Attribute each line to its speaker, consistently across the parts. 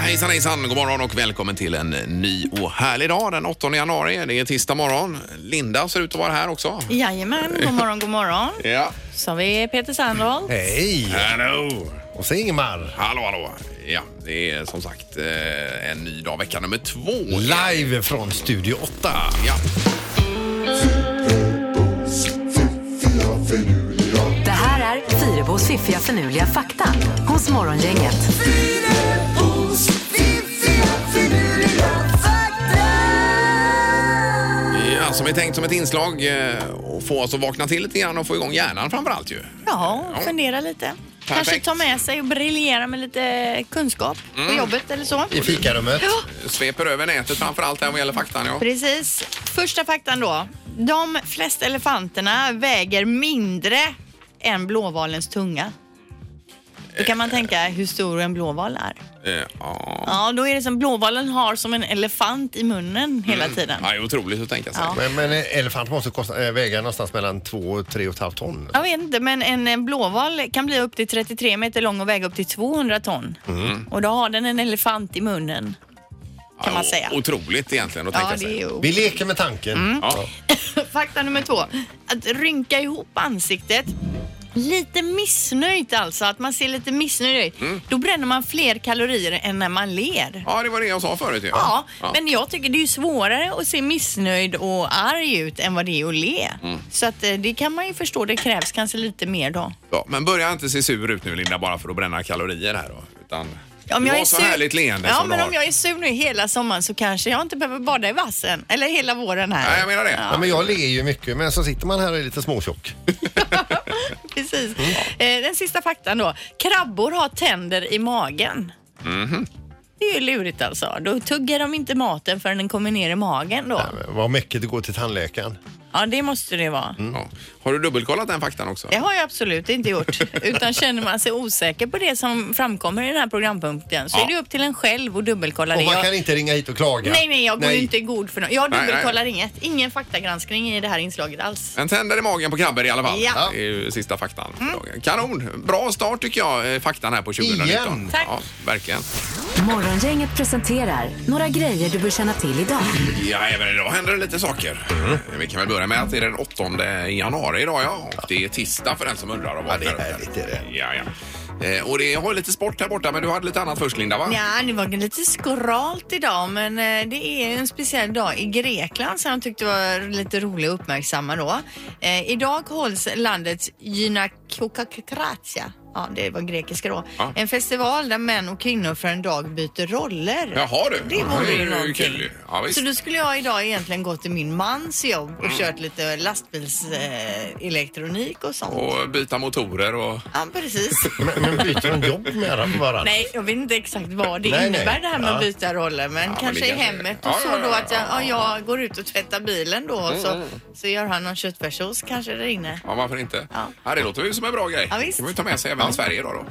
Speaker 1: Hejsan hejsan, god morgon och välkommen till en ny och härlig dag den 8 januari. Det är tisdag morgon. Linda ser ut att vara här också.
Speaker 2: Jajamän, god morgon, god morgon.
Speaker 1: Ja.
Speaker 2: Så har vi Peter Sandholt.
Speaker 3: Hej!
Speaker 1: Hallå!
Speaker 3: Och så Ingemar.
Speaker 1: Hallå, hallå. Ja, det är som sagt eh, en ny dag, vecka nummer två.
Speaker 3: Live från Studio 8.
Speaker 1: Ja.
Speaker 4: Det här är Fyrabos fiffiga förnuliga fakta hos Morgongänget.
Speaker 1: ja, som är tänkt som ett inslag eh, och få oss att vakna till lite grann och få igång hjärnan framför allt ju.
Speaker 2: Ja, fundera lite. Kanske ta med sig och briljera med lite kunskap på jobbet eller så.
Speaker 3: I fikarummet.
Speaker 2: Ja,
Speaker 1: Sveper över nätet framför allt här vad gäller faktan. Ja.
Speaker 2: precis. Första faktan då. De flesta elefanterna väger mindre än blåvalens tunga. Då kan man tänka hur stor en blåval är.
Speaker 1: Eh, ja.
Speaker 2: Ja, då är det som blåvalen har som en elefant i munnen hela tiden.
Speaker 1: Ja, det är otroligt att tänka sig.
Speaker 2: Ja.
Speaker 3: Men, men elefant måste kosta, äh, väga någonstans mellan 2 och 3,5 ton.
Speaker 2: Jag vet inte, men en eh, blåval kan bli upp till 33 meter lång och väga upp till 200 ton.
Speaker 1: Mm.
Speaker 2: Och då har den en elefant i munnen, kan man
Speaker 1: Ja,
Speaker 2: säga.
Speaker 1: Otroligt egentligen att
Speaker 2: Ja,
Speaker 1: tänka sig.
Speaker 2: det är
Speaker 3: Vi leker med tanken.
Speaker 2: Mm.
Speaker 1: Ja.
Speaker 2: Fakta nummer två. Att rynka ihop ansiktet. Lite missnöjt alltså, att man ser lite missnöjd ut. Då bränner man fler kalorier än när man ler.
Speaker 1: Mm. ja, det var det jag sa förut ju.
Speaker 2: Ja, men jag tycker det är ju svårare att se missnöjd och arg ut än vad det är att le.
Speaker 1: Mm.
Speaker 2: Så att eh, det kan man ju förstå, det krävs kanske lite mer då.
Speaker 1: Ja, men börja inte se sur ut nu Linda bara för att bränna kalorier här då. Utan
Speaker 2: Om
Speaker 1: du
Speaker 2: jag
Speaker 1: har
Speaker 2: är
Speaker 1: så
Speaker 2: sur-
Speaker 1: härligt leende
Speaker 2: Ja,
Speaker 1: som
Speaker 2: men
Speaker 1: du
Speaker 2: om
Speaker 1: har.
Speaker 2: jag är sur nu hela sommaren så kanske jag inte behöver bada i vassen. Eller hela våren här.
Speaker 1: Ja, jag menar det.
Speaker 3: Ja, men jag ler ju mycket men så sitter man här och är lite småtjock.
Speaker 2: Precis.
Speaker 1: Mm.
Speaker 2: Eh, Den sista faktan då. Krabbor har tänder i magen.
Speaker 1: Mhm.
Speaker 2: Det är ju lurigt alltså. Då tuggar de inte maten förrän den kommer ner i magen då.
Speaker 3: Men Vad mycket det går till tandläkaren.
Speaker 2: Ja, det måste det vara.
Speaker 1: Mm. Ja. Har du dubbelkollat den faktan också?
Speaker 2: Det har jag absolut inte gjort. Utan känner man sig osäker på det som framkommer i den här programpunkten så
Speaker 1: Ja.
Speaker 2: är det upp till en själv att dubbelkolla det.
Speaker 3: Och man
Speaker 2: Jag-
Speaker 3: kan inte ringa hit och klaga.
Speaker 2: Nej, nej, jag går ju inte i god för något. Jag
Speaker 1: Nej, nej.
Speaker 2: dubbelkollar inget. Ingen faktagranskning i det här inslaget alls.
Speaker 1: En tänder i magen på krabbor i alla fall.
Speaker 2: Ja. Mm.
Speaker 1: Det är ju sista faktan. för dagen. Kanon! Bra start tycker jag, eh, faktan här på 2019.
Speaker 3: Igen.
Speaker 2: Tack.
Speaker 1: Ja, verkligen.
Speaker 4: Morgongänget presenterar några grejer du bör känna till idag.
Speaker 1: Ja, även idag händer det lite saker.
Speaker 3: Mm.
Speaker 1: Vi kan väl börja med att det är den 8 januari idag ja. Och det är tisdag för den som undrar. om vad
Speaker 3: det är
Speaker 1: där uppe.
Speaker 3: härligt, det är det.
Speaker 1: Ja, ja. Eh, Och det jag har lite sport här borta men du hade lite annat först Linda va?
Speaker 2: Ja, det var lite skralt idag men eh, det är ju en speciell dag i Grekland som jag tyckte var lite rolig att uppmärksamma då. Eh, idag hålls landets Gynakokratia, ja det var grekiska då,
Speaker 1: Ja.
Speaker 2: en festival där män och kvinnor för en dag byter roller.
Speaker 1: Jaha du.
Speaker 2: Det vore
Speaker 1: är
Speaker 2: ju någonting.
Speaker 1: kul ju. Ja, visst. Mm.
Speaker 2: så då skulle jag idag egentligen gå till min mans jobb och kört lite lastbilselektronik eh, elektronik och sånt.
Speaker 1: Och byta motorer och...
Speaker 2: Ja, precis.
Speaker 3: Men, men byter de jobb med varandra?
Speaker 2: Nej, jag vet inte exakt vad det
Speaker 3: Nej,
Speaker 2: innebär
Speaker 3: nej.
Speaker 2: det här med att
Speaker 3: Ja.
Speaker 2: byta roller. Men
Speaker 1: men
Speaker 2: kanske
Speaker 1: det
Speaker 2: i
Speaker 1: kanske-
Speaker 2: hemmet och
Speaker 1: Ja,
Speaker 2: så
Speaker 1: ja, ja,
Speaker 2: då att jag,
Speaker 1: ja,
Speaker 2: ja, jag går ut och tvättar bilen då och så, så gör han någon köttfärssås kanske där inne.
Speaker 1: Ja, varför inte? Ja.
Speaker 2: Ja.
Speaker 1: det låter ju som en bra grej.
Speaker 2: Ja,
Speaker 1: det
Speaker 2: visst.
Speaker 1: kan vi ta med sig även i Sverige idag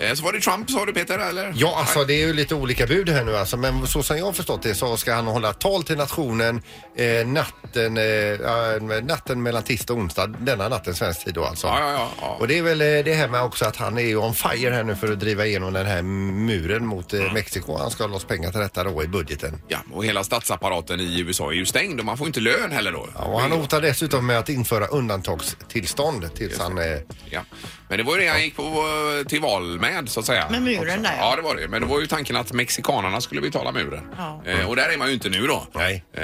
Speaker 1: då. Eh, Så var det Trump sa du Peter, eller?
Speaker 3: Ja, alltså det är ju lite olika bud här nu alltså, men så som jag har förstått det så ska han hålla tal till nationen eh, natten, eh, eh, natten mellan tisdag och onsdag, denna natten svensk tid då alltså.
Speaker 1: Ja, ja, ja, ja.
Speaker 3: Och det är väl eh, det här med också att han är ju on fire här nu för att driva igenom den här muren mot eh,
Speaker 1: Mm.
Speaker 3: Mexiko. Han ska ha loss pengar till detta då i budgeten.
Speaker 1: Ja, och hela statsapparaten i USA är ju stängd och man får inte lön heller då.
Speaker 3: Ja, och han hotar dessutom med att införa undantagstillstånd tills han... Eh,
Speaker 1: Ja. Men det var ju det han gick på, eh, till val med så att säga.
Speaker 2: Med muren
Speaker 1: Också.
Speaker 2: där, ja.
Speaker 1: Ja, det var det. Men det var ju tanken att mexikanerna skulle betala muren.
Speaker 2: Ja.
Speaker 1: Eh, och där är man ju inte nu då.
Speaker 3: Nej.
Speaker 1: Eh,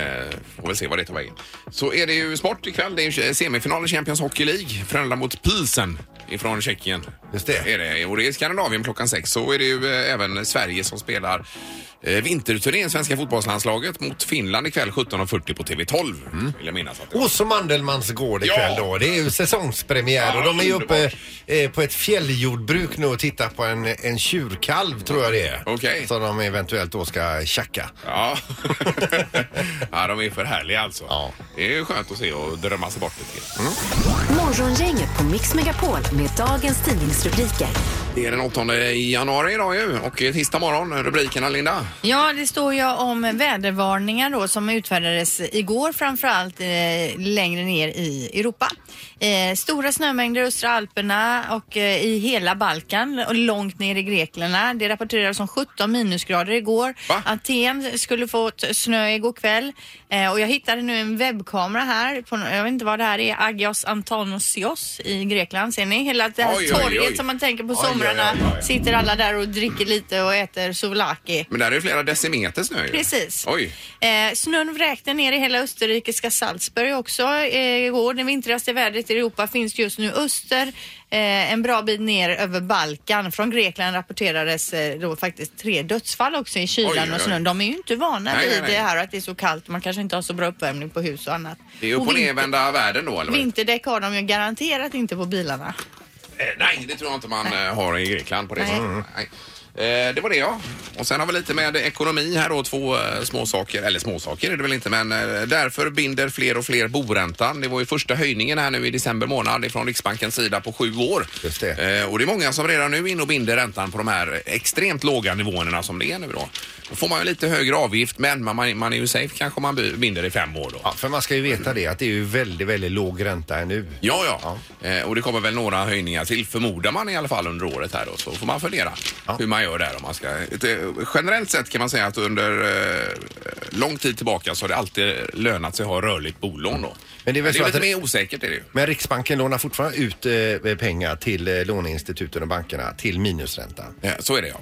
Speaker 1: får väl se vad det tar vägen. Så är det ju sport ikväll. Det är ju semifinal i Champions Hockey League. Frölunda mot Pilsen ifrån Tjeckien.
Speaker 3: Just det.
Speaker 1: Är det. Och det är i Skandinavien klockan sex. Så är det ju eh, även Sverige som spelar eh, vinterturnén, svenska fotbollslandslaget, mot Finland ikväll 17.40 på TV12. Vill jag minnas att det var.
Speaker 3: Mm. Och så Mandelmans gård ikväll
Speaker 1: Ja.
Speaker 3: då. Det är ju säsongspremiär
Speaker 1: Ja,
Speaker 3: och de är ju uppe
Speaker 1: underbart.
Speaker 3: eh, på ett fjälljordbruk nu och tittar på en, en tjurkalv tror jag det är.
Speaker 1: Okej.
Speaker 3: Som de eventuellt då ska tjacka.
Speaker 1: Ja. ja, de är för härliga alltså.
Speaker 3: Ja.
Speaker 1: Det är ju skönt att se och drömma sig bort lite. grann.
Speaker 4: Morgongänget på Mix Megapol med dagens tidningsrubriker.
Speaker 1: Det är den 8 januari idag ju och tisdag morgon. Rubrikerna Linda?
Speaker 2: Ja, det står ju om vädervarningar då som utfärdades igår framförallt eh, längre ner i Europa. Eh, stora snömängder i östra Alperna och eh, i hela Balkan och långt ner i Grekland. Det rapporterades om 17 minusgrader igår.
Speaker 1: Va?
Speaker 2: Aten skulle fått snö igår kväll eh, och jag hittade nu en webbkamera här. På, jag vet inte vad det här är. Agios Antonosios i Grekland. Ser ni? Hela det här
Speaker 1: Oj, oj, oj.
Speaker 2: torget som man tänker på
Speaker 3: Oj, oj, oj,
Speaker 2: somrarna.
Speaker 3: oj, oj.
Speaker 2: Sitter alla där och dricker lite och äter souvlaki.
Speaker 1: Men där är det flera decimeter snö ju.
Speaker 2: Precis.
Speaker 1: Oj.
Speaker 2: Eh, snön vräkte ner i hela österrikiska Salzburg också eh, igår. Det vintrigaste vädret i Europa finns just nu öster, eh, en bra bit ner över Balkan. Från Grekland rapporterades eh, då faktiskt tre dödsfall också i kylan
Speaker 1: Oj, oj, oj.
Speaker 2: och snön. De är ju inte vana
Speaker 1: Nej,
Speaker 2: vid
Speaker 1: nej, nej.
Speaker 2: det här att det är så kallt. Man kanske inte har så bra uppvärmning på hus och annat.
Speaker 1: Det är upp
Speaker 2: Och
Speaker 1: och
Speaker 2: vinter-
Speaker 1: nervända världen då eller? vad?
Speaker 2: Vinterdäck har de ju garanterat inte på bilarna.
Speaker 1: Eh, Nej, det tror jag inte man eh, har i Grekland på det
Speaker 2: Nej.
Speaker 1: sättet. Nej. Eh, Det var det ja. Och sen har vi lite med ekonomi här då, två eh, småsaker. Eller småsaker är det väl inte men eh, därför binder fler och fler boräntan. Det var ju första höjningen här nu i december månad från Riksbankens sida på sju år.
Speaker 3: Just det.
Speaker 1: Eh, Och det är många som redan nu är inne och binder räntan på de här extremt låga nivåerna som det är nu då. Då får man ju lite högre avgift men man, man- man är ju safe kanske om man by- binder i fem år då.
Speaker 3: Ja, för man ska ju veta det att det är ju väldigt, väldigt låg ränta här nu.
Speaker 1: Ja, ja. Eh, och det kommer väl några höjningar till förmodar man i alla fall under året här då. Så får man fundera
Speaker 3: Ja.
Speaker 1: hur man gör där om man ska. Ett, eh, generellt sett kan man säga att under eh, lång tid tillbaka så har det alltid lönat sig att ha rörligt bolån då. Men det är väl
Speaker 3: så
Speaker 1: lite
Speaker 3: att det-
Speaker 1: mer osäkert är det ju.
Speaker 3: Men Riksbanken lånar fortfarande ut eh, pengar till eh, låneinstituten och bankerna till minusränta.
Speaker 1: Eh, Så är det ja.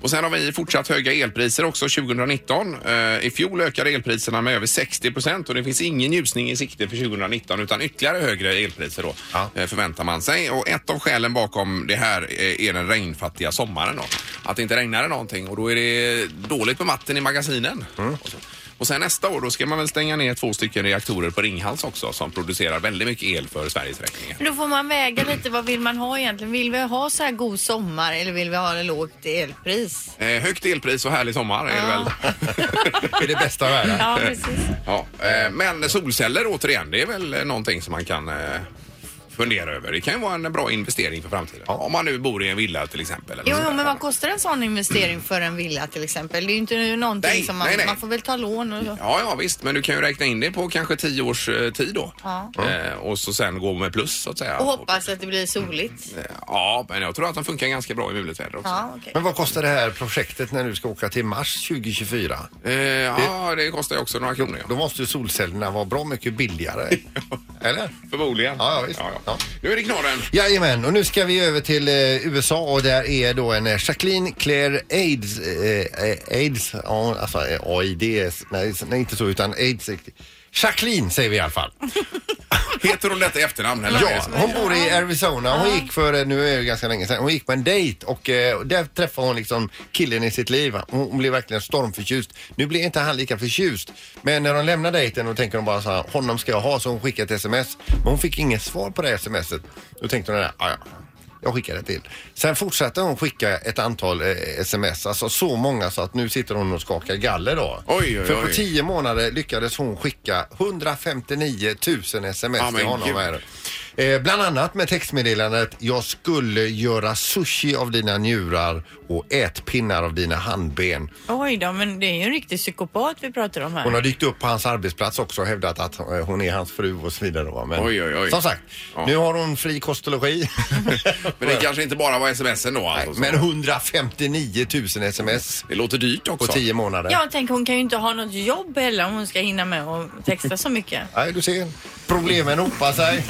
Speaker 1: Och sen har vi fortsatt höga elpriser också 2019. Eh, I fjol ökade elpriserna med över 60 procent och det finns ingen ljusning i sikte för 2019 utan ytterligare högre elpriser då
Speaker 3: Ja.
Speaker 1: eh, förväntar man sig. Och ett av skälen bakom det här eh, är den regnfattiga sommaren då. Att det inte regnade någonting och då är det dåligt med vatten i magasinen. Och så- Och sen nästa år då ska man väl stänga ner två stycken reaktorer på Ringhals också som producerar väldigt mycket el för Sveriges räkning.
Speaker 2: Då får man väga lite, vad vill man ha egentligen? Vill vi ha så här god sommar eller vill vi ha ett lågt elpris?
Speaker 1: Eh, högt elpris och härlig sommar är det väl.
Speaker 3: Det är det bästa av världen.
Speaker 2: Ja, precis.
Speaker 1: Ja, eh, men solceller återigen, det är väl eh, någonting som man kan eh, fundera över. Det kan ju vara en bra investering för framtiden. Om man nu bor i en villa till exempel. Eller
Speaker 2: Jo,
Speaker 1: sådär.
Speaker 2: jo, men vad kostar en sån investering för en villa till exempel? Det är ju inte någonting
Speaker 1: Nej,
Speaker 2: som man...
Speaker 1: nej, nej.
Speaker 2: Man får väl ta lån och så.
Speaker 1: Ja, ja visst, men du kan ju räkna in det på kanske tio års eh, tid då.
Speaker 2: Ja.
Speaker 1: Eh, och så sen gå med plus så att säga.
Speaker 2: Och hoppas att det blir soligt.
Speaker 1: Eh, Ja, men jag tror att de funkar ganska bra i mulet väder också.
Speaker 2: Ja, okej.
Speaker 3: Men vad kostar det här projektet när du ska åka till mars 2024?
Speaker 1: Eh, ja, det kostar ju också några kronor.
Speaker 3: Då
Speaker 1: Ja.
Speaker 3: måste ju solcellerna vara bra mycket billigare. Eller?
Speaker 1: Förmodligen.
Speaker 3: Ja, ja, visst. Ja.
Speaker 1: Nu är det knorren.
Speaker 3: Jajamän, och nu ska vi över till eh, USA och där är då en eh, Jacqueline Claire Aids, eh, eh, Aids, ja, alltså eh, AIDS, nej, s- nej inte så utan Aids riktigt. Jacqueline säger vi i alla fall.
Speaker 1: Heter hon detta i efternamn? Eller?
Speaker 3: Ja, hon bor i Arizona. Hon gick för, eh, nu är det ganska länge sedan, hon gick på en dejt och eh, där träffade hon liksom killen i sitt liv. Hon, hon blev verkligen stormförtjust. Nu blir inte han lika förtjust. Men när de lämnar dejten då tänker de bara så här, honom ska jag ha, så hon skickar ett sms. Men hon fick inget svar på det smset. Då tänkte hon, "Ja, ja, jag skickade till. Sen fortsatte hon skicka ett antal eh, sms, alltså så många så att nu sitter hon och skakar galler då.
Speaker 1: Oj, oj,
Speaker 3: För på
Speaker 1: oj.
Speaker 3: tio månader lyckades hon skicka 159 000 sms
Speaker 1: Ja, men
Speaker 3: till honom.
Speaker 1: gud.
Speaker 3: Här. Eh, bland annat med textmeddelandet Jag skulle göra sushi av dina njurar och ätpinnar av dina handben.
Speaker 2: Oj då, men det är ju en riktig psykopat vi pratar om
Speaker 3: Hon
Speaker 2: här.
Speaker 3: har dykt upp på hans arbetsplats också och hävdat att eh, hon är hans fru och så vidare. då, va. Men
Speaker 1: Oj, oj, oj.
Speaker 3: som sagt,
Speaker 1: Ja.
Speaker 3: nu har hon fri kost och logi.
Speaker 1: Men det kanske inte bara var smsen då alltså.
Speaker 3: Nej,
Speaker 1: så-
Speaker 3: men 159 000 sms
Speaker 1: Det låter dyrt
Speaker 3: på
Speaker 1: också.
Speaker 3: 10 månader.
Speaker 2: Jag tänker hon kan ju inte ha något jobb heller om hon ska hinna med att texta så mycket.
Speaker 3: Nej, du ser. Problemen hopar sig.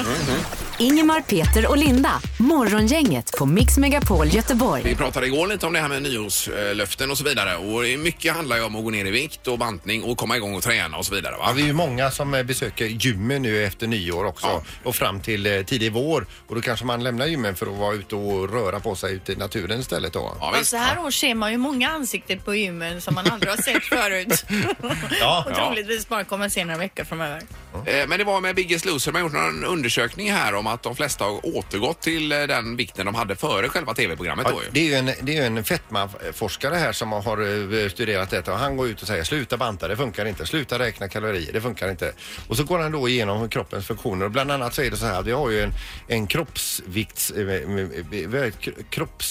Speaker 4: Ingemar, Peter och Linda. Morgongänget på Mix Megapol
Speaker 1: Vi
Speaker 4: Göteborg.
Speaker 1: pratade igår lite om det här med nyårslöften och så vidare. Och mycket handlar ju om att gå ner i vikt och bantning och komma igång och träna och så vidare.
Speaker 3: Ja,
Speaker 1: Va?
Speaker 3: vi är ju många som eh, besöker gymmen nu efter nyår också
Speaker 1: Ja.
Speaker 3: och fram till eh, tidig vår. Och då kanske man lämnar gymmen för att vara ute och röra på sig ute i naturen istället då.
Speaker 1: Ja,
Speaker 2: Och
Speaker 1: visst.
Speaker 2: så Alltså, här år ser man ju många ansikten på gymmen som man aldrig har sett förut.
Speaker 3: Ja,
Speaker 2: och
Speaker 1: ja.
Speaker 2: troligtvis bara kommer se några veckor framöver.
Speaker 1: Eh, Men det var med Biggest Loser, man har gjort någon undersökning här om att de flesta har återgått till eh, den vikten de hade före själva tv-programmet
Speaker 3: Ja,
Speaker 1: då ju.
Speaker 3: det är ju en, det är ju en fetmaforskare här som har eh, studerat detta och han går ut och säger sluta banta, det funkar inte. Sluta räkna kalorier, det funkar inte. Och så går han då igenom kroppens funktioner och bland annat så är det så här att vi har ju en, en kroppsvikts, eh, eh, eh,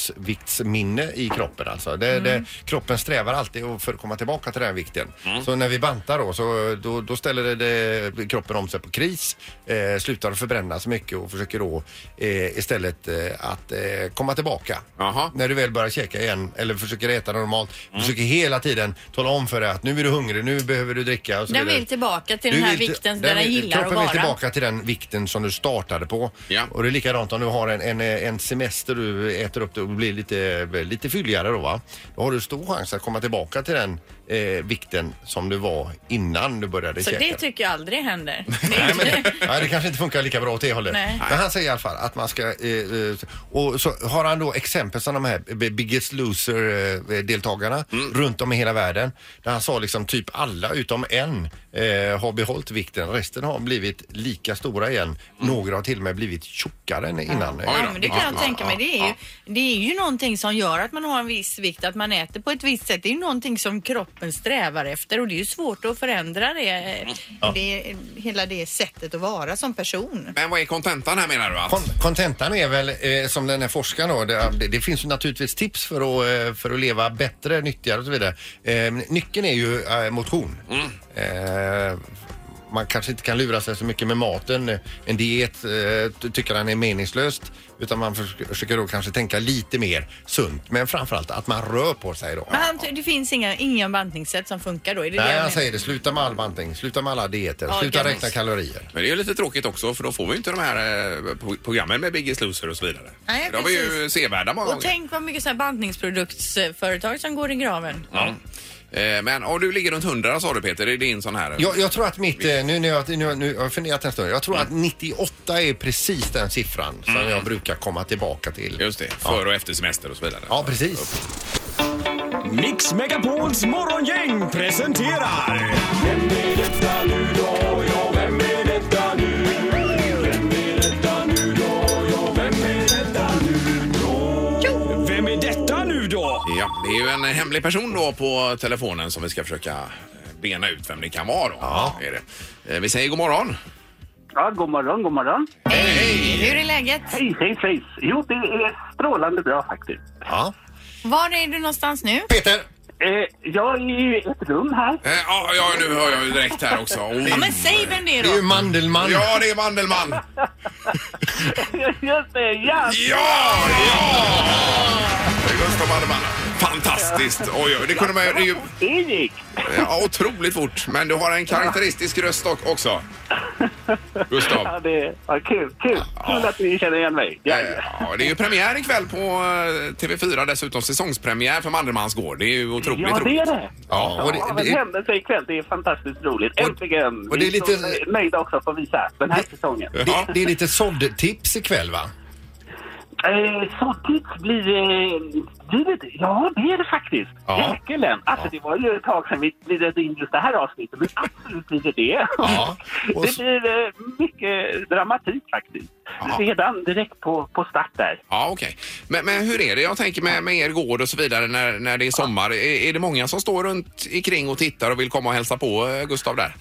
Speaker 3: kroppsviktsminne i kroppen alltså. Det,
Speaker 1: Mm.
Speaker 3: det, kroppen strävar alltid att- för att komma tillbaka till den här vikten. Så när vi bantar då, så, då, då ställer det, det kroppen om sig på kris, eh, slutar att förbränna så mycket och försöker då eh, istället eh, att eh, komma tillbaka
Speaker 1: Jaha. Mm.
Speaker 3: när du väl börjar käka igen eller försöker äta normalt. Försöker hela tiden tala om för dig att nu är du hungrig, nu behöver du dricka och så
Speaker 2: Den
Speaker 3: vidare.
Speaker 2: vill tillbaka till
Speaker 3: Du
Speaker 2: den här
Speaker 3: vill till-
Speaker 2: vikten där den
Speaker 3: vill-
Speaker 2: gillar att
Speaker 3: Kroppen vill
Speaker 2: vara.
Speaker 3: tillbaka till den vikten som du startade på.
Speaker 1: Ja.
Speaker 3: Och det är likadant om du har en, en, en semester du äter upp det och blir lite, lite fylligare då va. Då har du stor chans att komma tillbaka till den eh, vikten som du var innan du började
Speaker 2: Så
Speaker 3: käka.
Speaker 2: det tycker jag aldrig händer. Det är
Speaker 3: Nej,
Speaker 2: inte-
Speaker 3: men, nej, det kanske inte funkar lika bra åt det hållet.
Speaker 2: Nej.
Speaker 3: Men han säger i alla fall att man ska... eh, Eh, och så har han då exempel som de här B- Biggest Loser-deltagarna runt om i hela världen. Där han sa liksom typ alla utom en eh, har behållit vikten. Resten har blivit lika stora igen. Några har till och med blivit tjockare än innan.
Speaker 1: Oj
Speaker 2: Ja,
Speaker 1: då.
Speaker 2: men det kan jag
Speaker 1: Ja,
Speaker 2: tänka
Speaker 1: ja,
Speaker 2: mig. Det är, ju,
Speaker 1: ja.
Speaker 2: det är ju någonting som gör att man har en viss vikt, att man äter på ett visst sätt. Det är ju någonting som kroppen strävar efter och det är ju svårt att förändra det, det hela det sättet att vara som person.
Speaker 1: Men vad är kontentan här menar du? Att...
Speaker 3: Kon- Kontentan är väl eh, som den här forskaren då, det, det, det finns ju naturligtvis tips för att, eh, för att leva bättre, nyttigare och så vidare. Eh, men nyckeln är ju eh, motion.
Speaker 2: Mm.
Speaker 3: Eh, man kanske inte kan lura sig så mycket med maten. En diet eh, ty- tycker han är meningslöst utan man förs- försöker då kanske tänka lite mer sunt. Men framförallt att man rör på sig då.
Speaker 2: Men han, det finns inga, inga bantningssätt som funkar då? Är det det
Speaker 3: Nej,
Speaker 2: jag
Speaker 3: han
Speaker 2: menar?
Speaker 3: säger det. Sluta med all bantning, sluta med alla dieter,
Speaker 2: Ja,
Speaker 3: sluta
Speaker 2: gammalt.
Speaker 3: räkna kalorier.
Speaker 1: Men det är ju lite tråkigt också för då får vi ju inte de här eh, pro- programmen med Biggest Loser och så vidare.
Speaker 2: Nej,
Speaker 1: de är ju
Speaker 2: precis.
Speaker 1: sevärda många
Speaker 2: Och
Speaker 1: gånger.
Speaker 2: tänk vad mycket så här bantningsproduktsföretag som går i graven.
Speaker 1: Ja. Eh, Men om du ligger runt 100 sa du Peter, är det din sån här?
Speaker 3: Jag, jag tror att mitt, eh, nu när jag, nu, nu, jag har funderat en stund, jag tror
Speaker 1: Mm.
Speaker 3: att 98 är precis den siffran som jag brukar komma tillbaka till.
Speaker 1: Just det, före och efter semester och så vidare.
Speaker 3: Ja, precis.
Speaker 5: Mix Megapols morgongäng presenterar... Vem är detta nu då? Ja, vem är detta nu? Vem är detta nu då? Ja, vem är detta nu då? Vem är detta nu då?
Speaker 1: Ja, det är ju en hemlig person då på telefonen som vi ska försöka eh, bena ut vem det kan vara. Då. Ja. Är det. Eh, Vi säger god morgon.
Speaker 6: Ja, god morgon, god morgon.
Speaker 2: Hej! Hur är läget?
Speaker 6: Hej, hej, hej. Jo, det är strålande bra faktiskt.
Speaker 3: Ja.
Speaker 2: Var är du någonstans nu?
Speaker 3: Peter!
Speaker 6: Eh, jag är i ett rum här.
Speaker 1: Eh, Ja, ja nu hör jag ju direkt här också. Oh.
Speaker 2: Ja, men säg vem det är
Speaker 3: Det är ju
Speaker 2: då.
Speaker 3: Mandelmann.
Speaker 1: Ja, det är Mandelmann!
Speaker 6: Just det, ja!
Speaker 1: Ja, ja! Det är Gustav Mandelmann. Fantastiskt! Oj, oj, det kunde man ju... Det är ju
Speaker 6: Det gick.
Speaker 1: ja, otroligt fort, men du har en karaktäristisk röst dock- också.
Speaker 6: Ja,
Speaker 1: Gustav.
Speaker 6: det var kul, kul. Kul att ni känner igen mig. Ja,
Speaker 1: Eh, Ja, det är ju premiär ikväll på eh, TV4 dessutom. Säsongspremiär för Mandelmanns gård. Det är ju otroligt
Speaker 6: ja det
Speaker 1: roligt.
Speaker 6: är det.
Speaker 3: Ja, och det-
Speaker 6: Ja, men
Speaker 3: det-
Speaker 6: händelse ikväll, det är fantastiskt roligt. Äntligen!
Speaker 3: och det är
Speaker 6: Vi
Speaker 3: lite-
Speaker 6: så nöjda också för att visa den här säsongen.
Speaker 1: Ja.
Speaker 3: Det, det är lite såddtips ikväll va?
Speaker 6: Eh, Såddigt blir eh, givet. Ja, det är det faktiskt.
Speaker 3: Ja.
Speaker 6: Jäkelen. Alltså, det var ju ett tag sedan vi glidade in just det här avsnittet, men absolut blir det det.
Speaker 3: Ja. Och
Speaker 6: Det
Speaker 3: så,
Speaker 6: blir eh, mycket dramatik faktiskt. Redan direkt på, på start där.
Speaker 1: Ja, okej. Men, men hur är det? Jag tänker med, med er gård och så vidare när, när det är sommar. Är, är det många som står runt omkring och tittar och vill komma och hälsa på eh, Gustav där?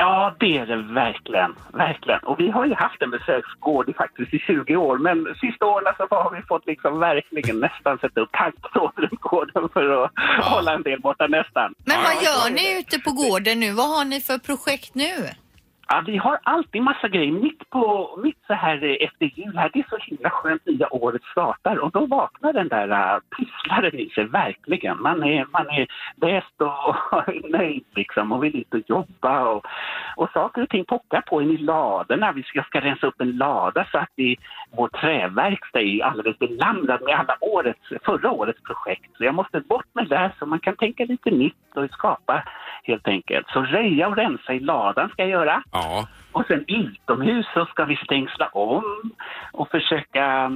Speaker 6: Ja, det är det verkligen. Verkligen. Och vi har ju haft en besöksgård i faktiskt i 20 år, men sista åren så har vi fått liksom verkligen nästan sätta upp taggtråd runt gården för att hålla en del borta nästan.
Speaker 2: Men
Speaker 1: Ja,
Speaker 2: vad gör ni ute på gården nu? Vad har ni för projekt nu?
Speaker 6: Ja, vi har alltid massa grejer mitt på, mitt så här eh, efter jul här. Det är så himla skönt nya året startar och då vaknar den där uh, pysslaren i sig verkligen. Man är, man är läst och nöjd liksom och vill ut och jobba och, och saker och ting pockar på en i ladorna. Vi ska, jag ska rensa upp en lada så att vi, vår träverkstad är alldeles belamrad med alla årets, förra årets projekt. Så jag måste bort med det här så man kan tänka lite nytt och skapa helt enkelt. Så röja och rensa i ladan ska jag göra.
Speaker 1: Ja.
Speaker 6: Och sen utomhus så ska vi stängsla om och försöka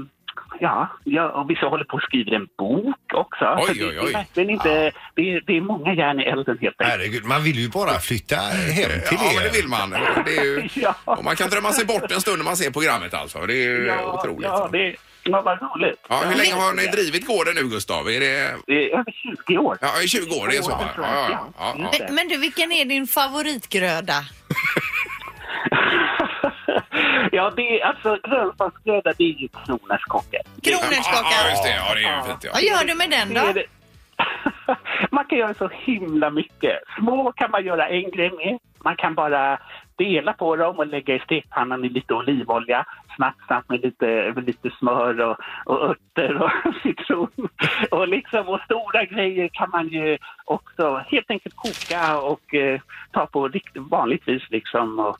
Speaker 6: ja, ja, och vissa håller på och skriver en bok också.
Speaker 1: Oj,
Speaker 6: Så det-
Speaker 1: oj,
Speaker 6: Det
Speaker 1: oj.
Speaker 6: är verkligen inte, det, är, det är många järn i elden helt enkelt.
Speaker 3: Herregud, man vill ju bara flytta hem till
Speaker 1: Ja,
Speaker 3: er.
Speaker 1: men det vill man. Det är ju,
Speaker 6: Ja.
Speaker 1: och man kan drömma sig bort en stund när man ser programmet alltså. Det är ju otroligt.
Speaker 6: Ja, det, ja, vad roligt.
Speaker 1: Ja, hur länge har ni drivit gården nu Gustav? Är det...
Speaker 6: Det är över 20 år.
Speaker 1: Ja, i 20 år, det är så? Ja, ja, ja, ja, ja.
Speaker 2: Men, men du, vilken är din favoritgröda?
Speaker 6: ja, det är alltså grönsaksgröda, det är ju kronärtskockor.
Speaker 1: Ja,
Speaker 2: Kronärtskaka.
Speaker 1: just det. Ja, det är ju fint. Ja.
Speaker 2: Vad gör du med den då?
Speaker 6: Det är det- Man kan göra så himla mycket. Små kan man göra en grej med. Man kan bara dela på dem och lägga i stekpannan i lite olivolja. Snabbt, snabbt med lite, med lite smör och, och örter och citron. Och, liksom, och stora grejer kan man ju också helt enkelt koka och eh, ta på riktigt vanligtvis liksom. Och,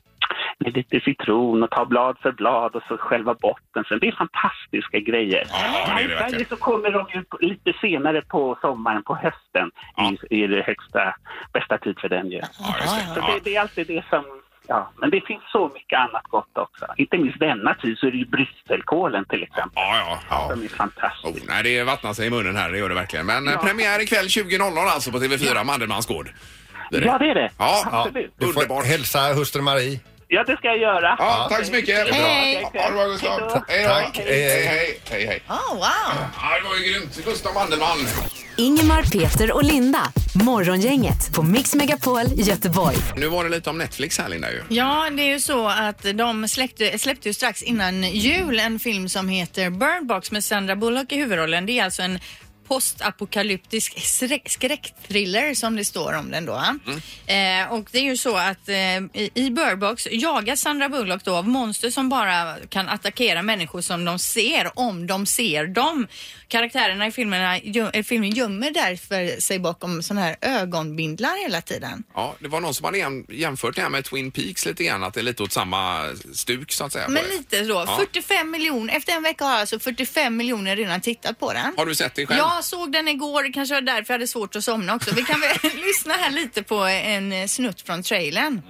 Speaker 6: med lite citron och ta blad för blad och så själva botten. Så det är fantastiska grejer.
Speaker 1: Ja, det är det
Speaker 6: Här i Sverige
Speaker 1: verkligen.
Speaker 6: så kommer de ju på- lite senare på sommaren, på hösten.
Speaker 1: Ja.
Speaker 6: I, I det högsta, bästa tid för den ju.
Speaker 1: Ja, just det.
Speaker 6: Så
Speaker 1: Ja.
Speaker 6: det, det är alltid det som... Ja, men det finns så mycket annat gott också. Inte minst denna tid så är det ju brysselkålen till exempel.
Speaker 1: Ja, ja. ja.
Speaker 6: Som är
Speaker 1: Oh,
Speaker 6: fantastisk.
Speaker 1: nej, det vattnar sig i munnen här, det gör det verkligen. Men eh, premiär ikväll 20.00 alltså på TV4, Mandelmanns gård. Det är det.
Speaker 6: Ja, det är det.
Speaker 1: Ja, ja.
Speaker 6: Absolut.
Speaker 3: Du får
Speaker 1: Underbart.
Speaker 3: hälsa hustru Marie.
Speaker 6: Ja, det ska jag göra.
Speaker 1: Ja, tack så mycket.
Speaker 2: Hej.
Speaker 1: Ja, det var Gustav. Hej, då.
Speaker 3: Tack.
Speaker 1: Hej, hej. hej, hej, hej.
Speaker 2: Oh, wow.
Speaker 1: Ja, det var ju grymt. Gustav Mandelmann.
Speaker 4: Ingemar, Peter och Linda. Morgongänget på Mix Megapol Göteborg.
Speaker 1: Nu var det lite om Netflix här, Linda. Ju.
Speaker 2: Ja, det är ju så att de släppte, släppte ju strax innan jul en film som heter Burn Box med Sandra Bullock i huvudrollen. Det är alltså en postapokalyptisk skrä- skräckthriller som det står om den då. Eh, och det är ju så att eh, i, i Burn Box jagas Sandra Bullock då av monster som bara kan attackera människor som de ser om de ser dem. Karaktärerna i filmerna, gö- eh, filmen gömmer därför sig bakom sådana här ögonbindlar hela tiden.
Speaker 1: Ja, det var någon som hade jäm- jämfört det här med Twin Peaks lite grann, att det är lite åt samma stuk så att säga. på
Speaker 2: Men
Speaker 1: det.
Speaker 2: lite så.
Speaker 1: Ja.
Speaker 2: 45 miljoner. Efter en vecka har alltså 45 miljoner redan tittat på den.
Speaker 1: Har du sett det själv?
Speaker 2: Jag såg den igår, det kanske var därför jag hade svårt att somna också. Vi kan väl lyssna här lite på en eh, snutt från trailern.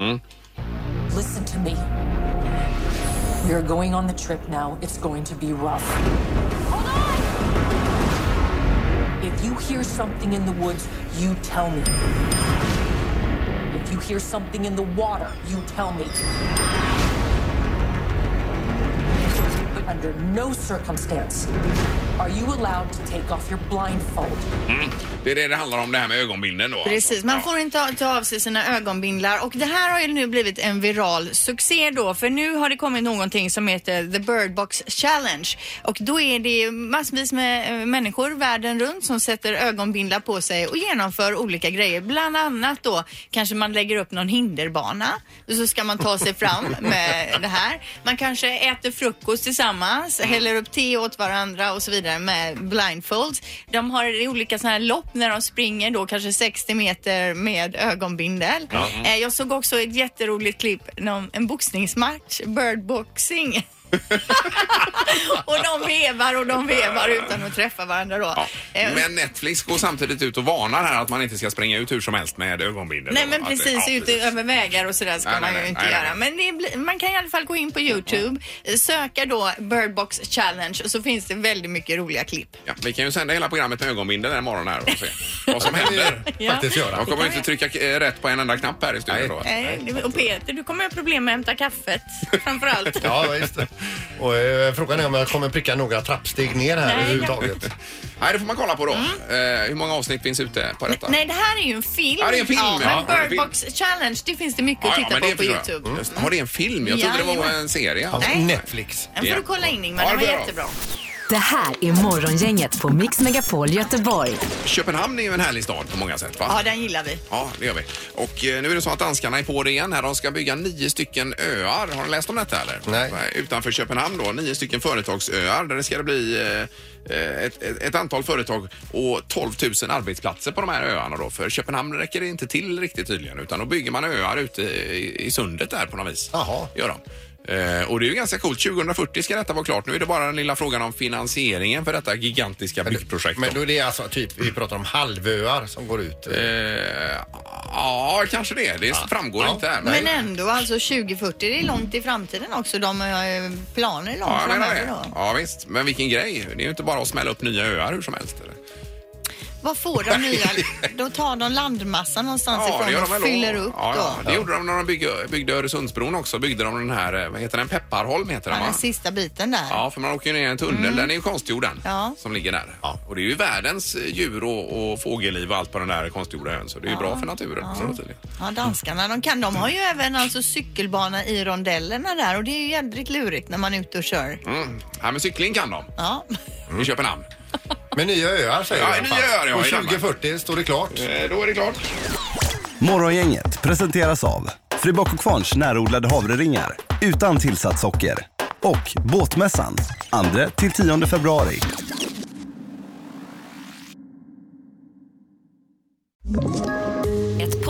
Speaker 7: Listen to me. We're going on the trip now. It's going to be rough. If you hear something in the woods, you tell me. If you hear something in the water, you tell me. But under no circumstance are you allowed to take off your blindfold.
Speaker 1: Mm. Det är det det handlar om, det här med ögonbilden då.
Speaker 2: Precis, man
Speaker 1: alltså.
Speaker 2: får inte ta- ta av sig sina ögonbindlar och det här har ju nu blivit en viral succé då för nu har det kommit någonting som heter The Bird Box Challenge och då är det massvis med eh, människor världen runt som sätter ögonbindlar på sig och genomför olika grejer. Bland annat då kanske man lägger upp någon hinderbana och så ska man ta sig fram med det här. Man kanske äter frukost tillsammans, häller upp te åt varandra och så vidare med blindfolds. De har olika sådana här lopp när de springer då kanske 60 meter med ögonbindel. Eh, Jag såg också ett jätteroligt klipp, någon- en boxningsmatch, birdboxing. och de vevar och de vevar utan att träffa varandra då.
Speaker 1: Ja.
Speaker 2: Eh,
Speaker 1: Men Netflix går samtidigt ut och varnar här att man inte ska spränga ut hur som helst med ögonbindel.
Speaker 2: Nej
Speaker 1: Och
Speaker 2: men
Speaker 1: att-
Speaker 2: precis,
Speaker 1: ja,
Speaker 2: ute
Speaker 1: precis.
Speaker 2: över vägar och sådär ska
Speaker 1: Nej,
Speaker 2: man
Speaker 1: nej,
Speaker 2: ju
Speaker 1: nej,
Speaker 2: inte
Speaker 1: nej, nej.
Speaker 2: göra. Men det blir, man kan i alla fall gå in på Youtube, eh, söka då Bird Box Challenge och så finns det väldigt mycket roliga klipp.
Speaker 1: Ja, vi kan ju sända hela programmet med ögonbindel den här morgonen här och se vad som händer.
Speaker 2: Ja.
Speaker 3: Faktiskt göra.
Speaker 1: De kommer ju inte trycka eh, rätt på en enda knapp här i studion då.
Speaker 2: Nej, det- Och Peter, du kommer ha problem med att hämta kaffet framförallt.
Speaker 3: Ja, visst. Och, eh, frågan är om jag kommer pricka några trappsteg ner här
Speaker 2: Nej.
Speaker 3: överhuvudtaget.
Speaker 1: Nej, det får man kolla på då. Eh, hur många avsnitt finns ute på detta?
Speaker 2: Mm. Nej, det här är ju en film.
Speaker 1: Ja, det är en film, ja.
Speaker 2: men
Speaker 1: Ja, det är en
Speaker 2: Bird
Speaker 1: film.
Speaker 2: Box Challenge, det finns det mycket
Speaker 1: Ja,
Speaker 2: att
Speaker 1: ja,
Speaker 2: titta
Speaker 1: men
Speaker 2: på
Speaker 1: det
Speaker 2: på
Speaker 1: förstår jag.
Speaker 2: Youtube.
Speaker 1: Mm. Har det en film? Jag trodde det var
Speaker 2: Jajamän.
Speaker 1: en serie.
Speaker 3: Ja,
Speaker 2: Nej.
Speaker 3: Alltså, Netflix.
Speaker 2: Den får
Speaker 1: Ja.
Speaker 2: du kolla in Ingmar,
Speaker 1: Ja,
Speaker 2: den var
Speaker 1: det får jag.
Speaker 2: jättebra.
Speaker 4: Det här är Morgongänget på Mix Megapol Göteborg.
Speaker 1: Köpenhamn är ju en härlig stad på många sätt, va?
Speaker 2: Ja, den gillar vi.
Speaker 1: Ja, det gör vi. Och eh, nu är det så att danskarna är på det igen här. De ska bygga nio stycken öar. Har ni läst om detta eller?
Speaker 3: Nej.
Speaker 1: Utanför Köpenhamn då. Nio stycken företagsöar där det ska det bli eh, eh, ett, ett, ett antal företag och 12 000 arbetsplatser på de här öarna då. För Köpenhamn räcker det inte till riktigt tydligen utan då bygger man öar ute i, i sundet där på något vis.
Speaker 3: Jaha.
Speaker 1: Gör de. Eh, och det är ju ganska coolt. 2040 ska detta vara klart. Nu är det bara den lilla frågan om finansieringen för detta gigantiska byggprojekt.
Speaker 3: Men
Speaker 1: då.
Speaker 3: då är det alltså typ, vi pratar om halvöar som går ut.
Speaker 1: Eh, ja, kanske det. Det framgår
Speaker 3: Ja.
Speaker 1: inte här.
Speaker 2: Men ändå, alltså 2040, det är långt i framtiden också. De har ju planer långt
Speaker 1: Ja, jag menar
Speaker 2: framöver
Speaker 1: det.
Speaker 2: då.
Speaker 1: Ja, visst. Men vilken grej. Det är ju inte bara att smälla upp nya öar hur som helst. eller?
Speaker 2: Alltså, Vad får de nya? Då tar de landmassa någonstans ifrån och
Speaker 1: väl då.
Speaker 2: fyller upp
Speaker 1: ja, ja.
Speaker 2: då.
Speaker 1: Det gjorde de när de byggde, byggde Öresundsbron också. Byggde de den här, eh, vad heter den, Pepparholm heter den
Speaker 2: Ja,
Speaker 1: va?
Speaker 2: den sista biten där.
Speaker 1: Ja, för man åker ju ner i en tunnel. Den är ju konstgjord den,
Speaker 2: Ja.
Speaker 1: som ligger där. Och det är ju världens eh, djur och, och fågelliv och allt på den där konstgjorda ön. Så det är ju bra för naturen. Så det tydligen.
Speaker 2: Ja, danskarna de kan. De har ju även alltså cykelbana i rondellerna där och det är ju jädrigt lurigt när man är ute och kör.
Speaker 1: Mm. Ja, men cykling kan de
Speaker 2: Ja.
Speaker 3: Mm.
Speaker 1: i Köpenhamn.
Speaker 3: Med nya öar säger
Speaker 1: Ja,
Speaker 3: jag i alla fall.
Speaker 1: nya öar, ja, i
Speaker 3: Och
Speaker 1: Danmark.
Speaker 3: 2040 står det klart.
Speaker 1: Eh, Då är det klart.
Speaker 8: Morgongänget presenteras av Fribock och Kvarns närodlade havreringar utan tillsatt socker och Båtmässan 2 till 10 februari.
Speaker 4: Ett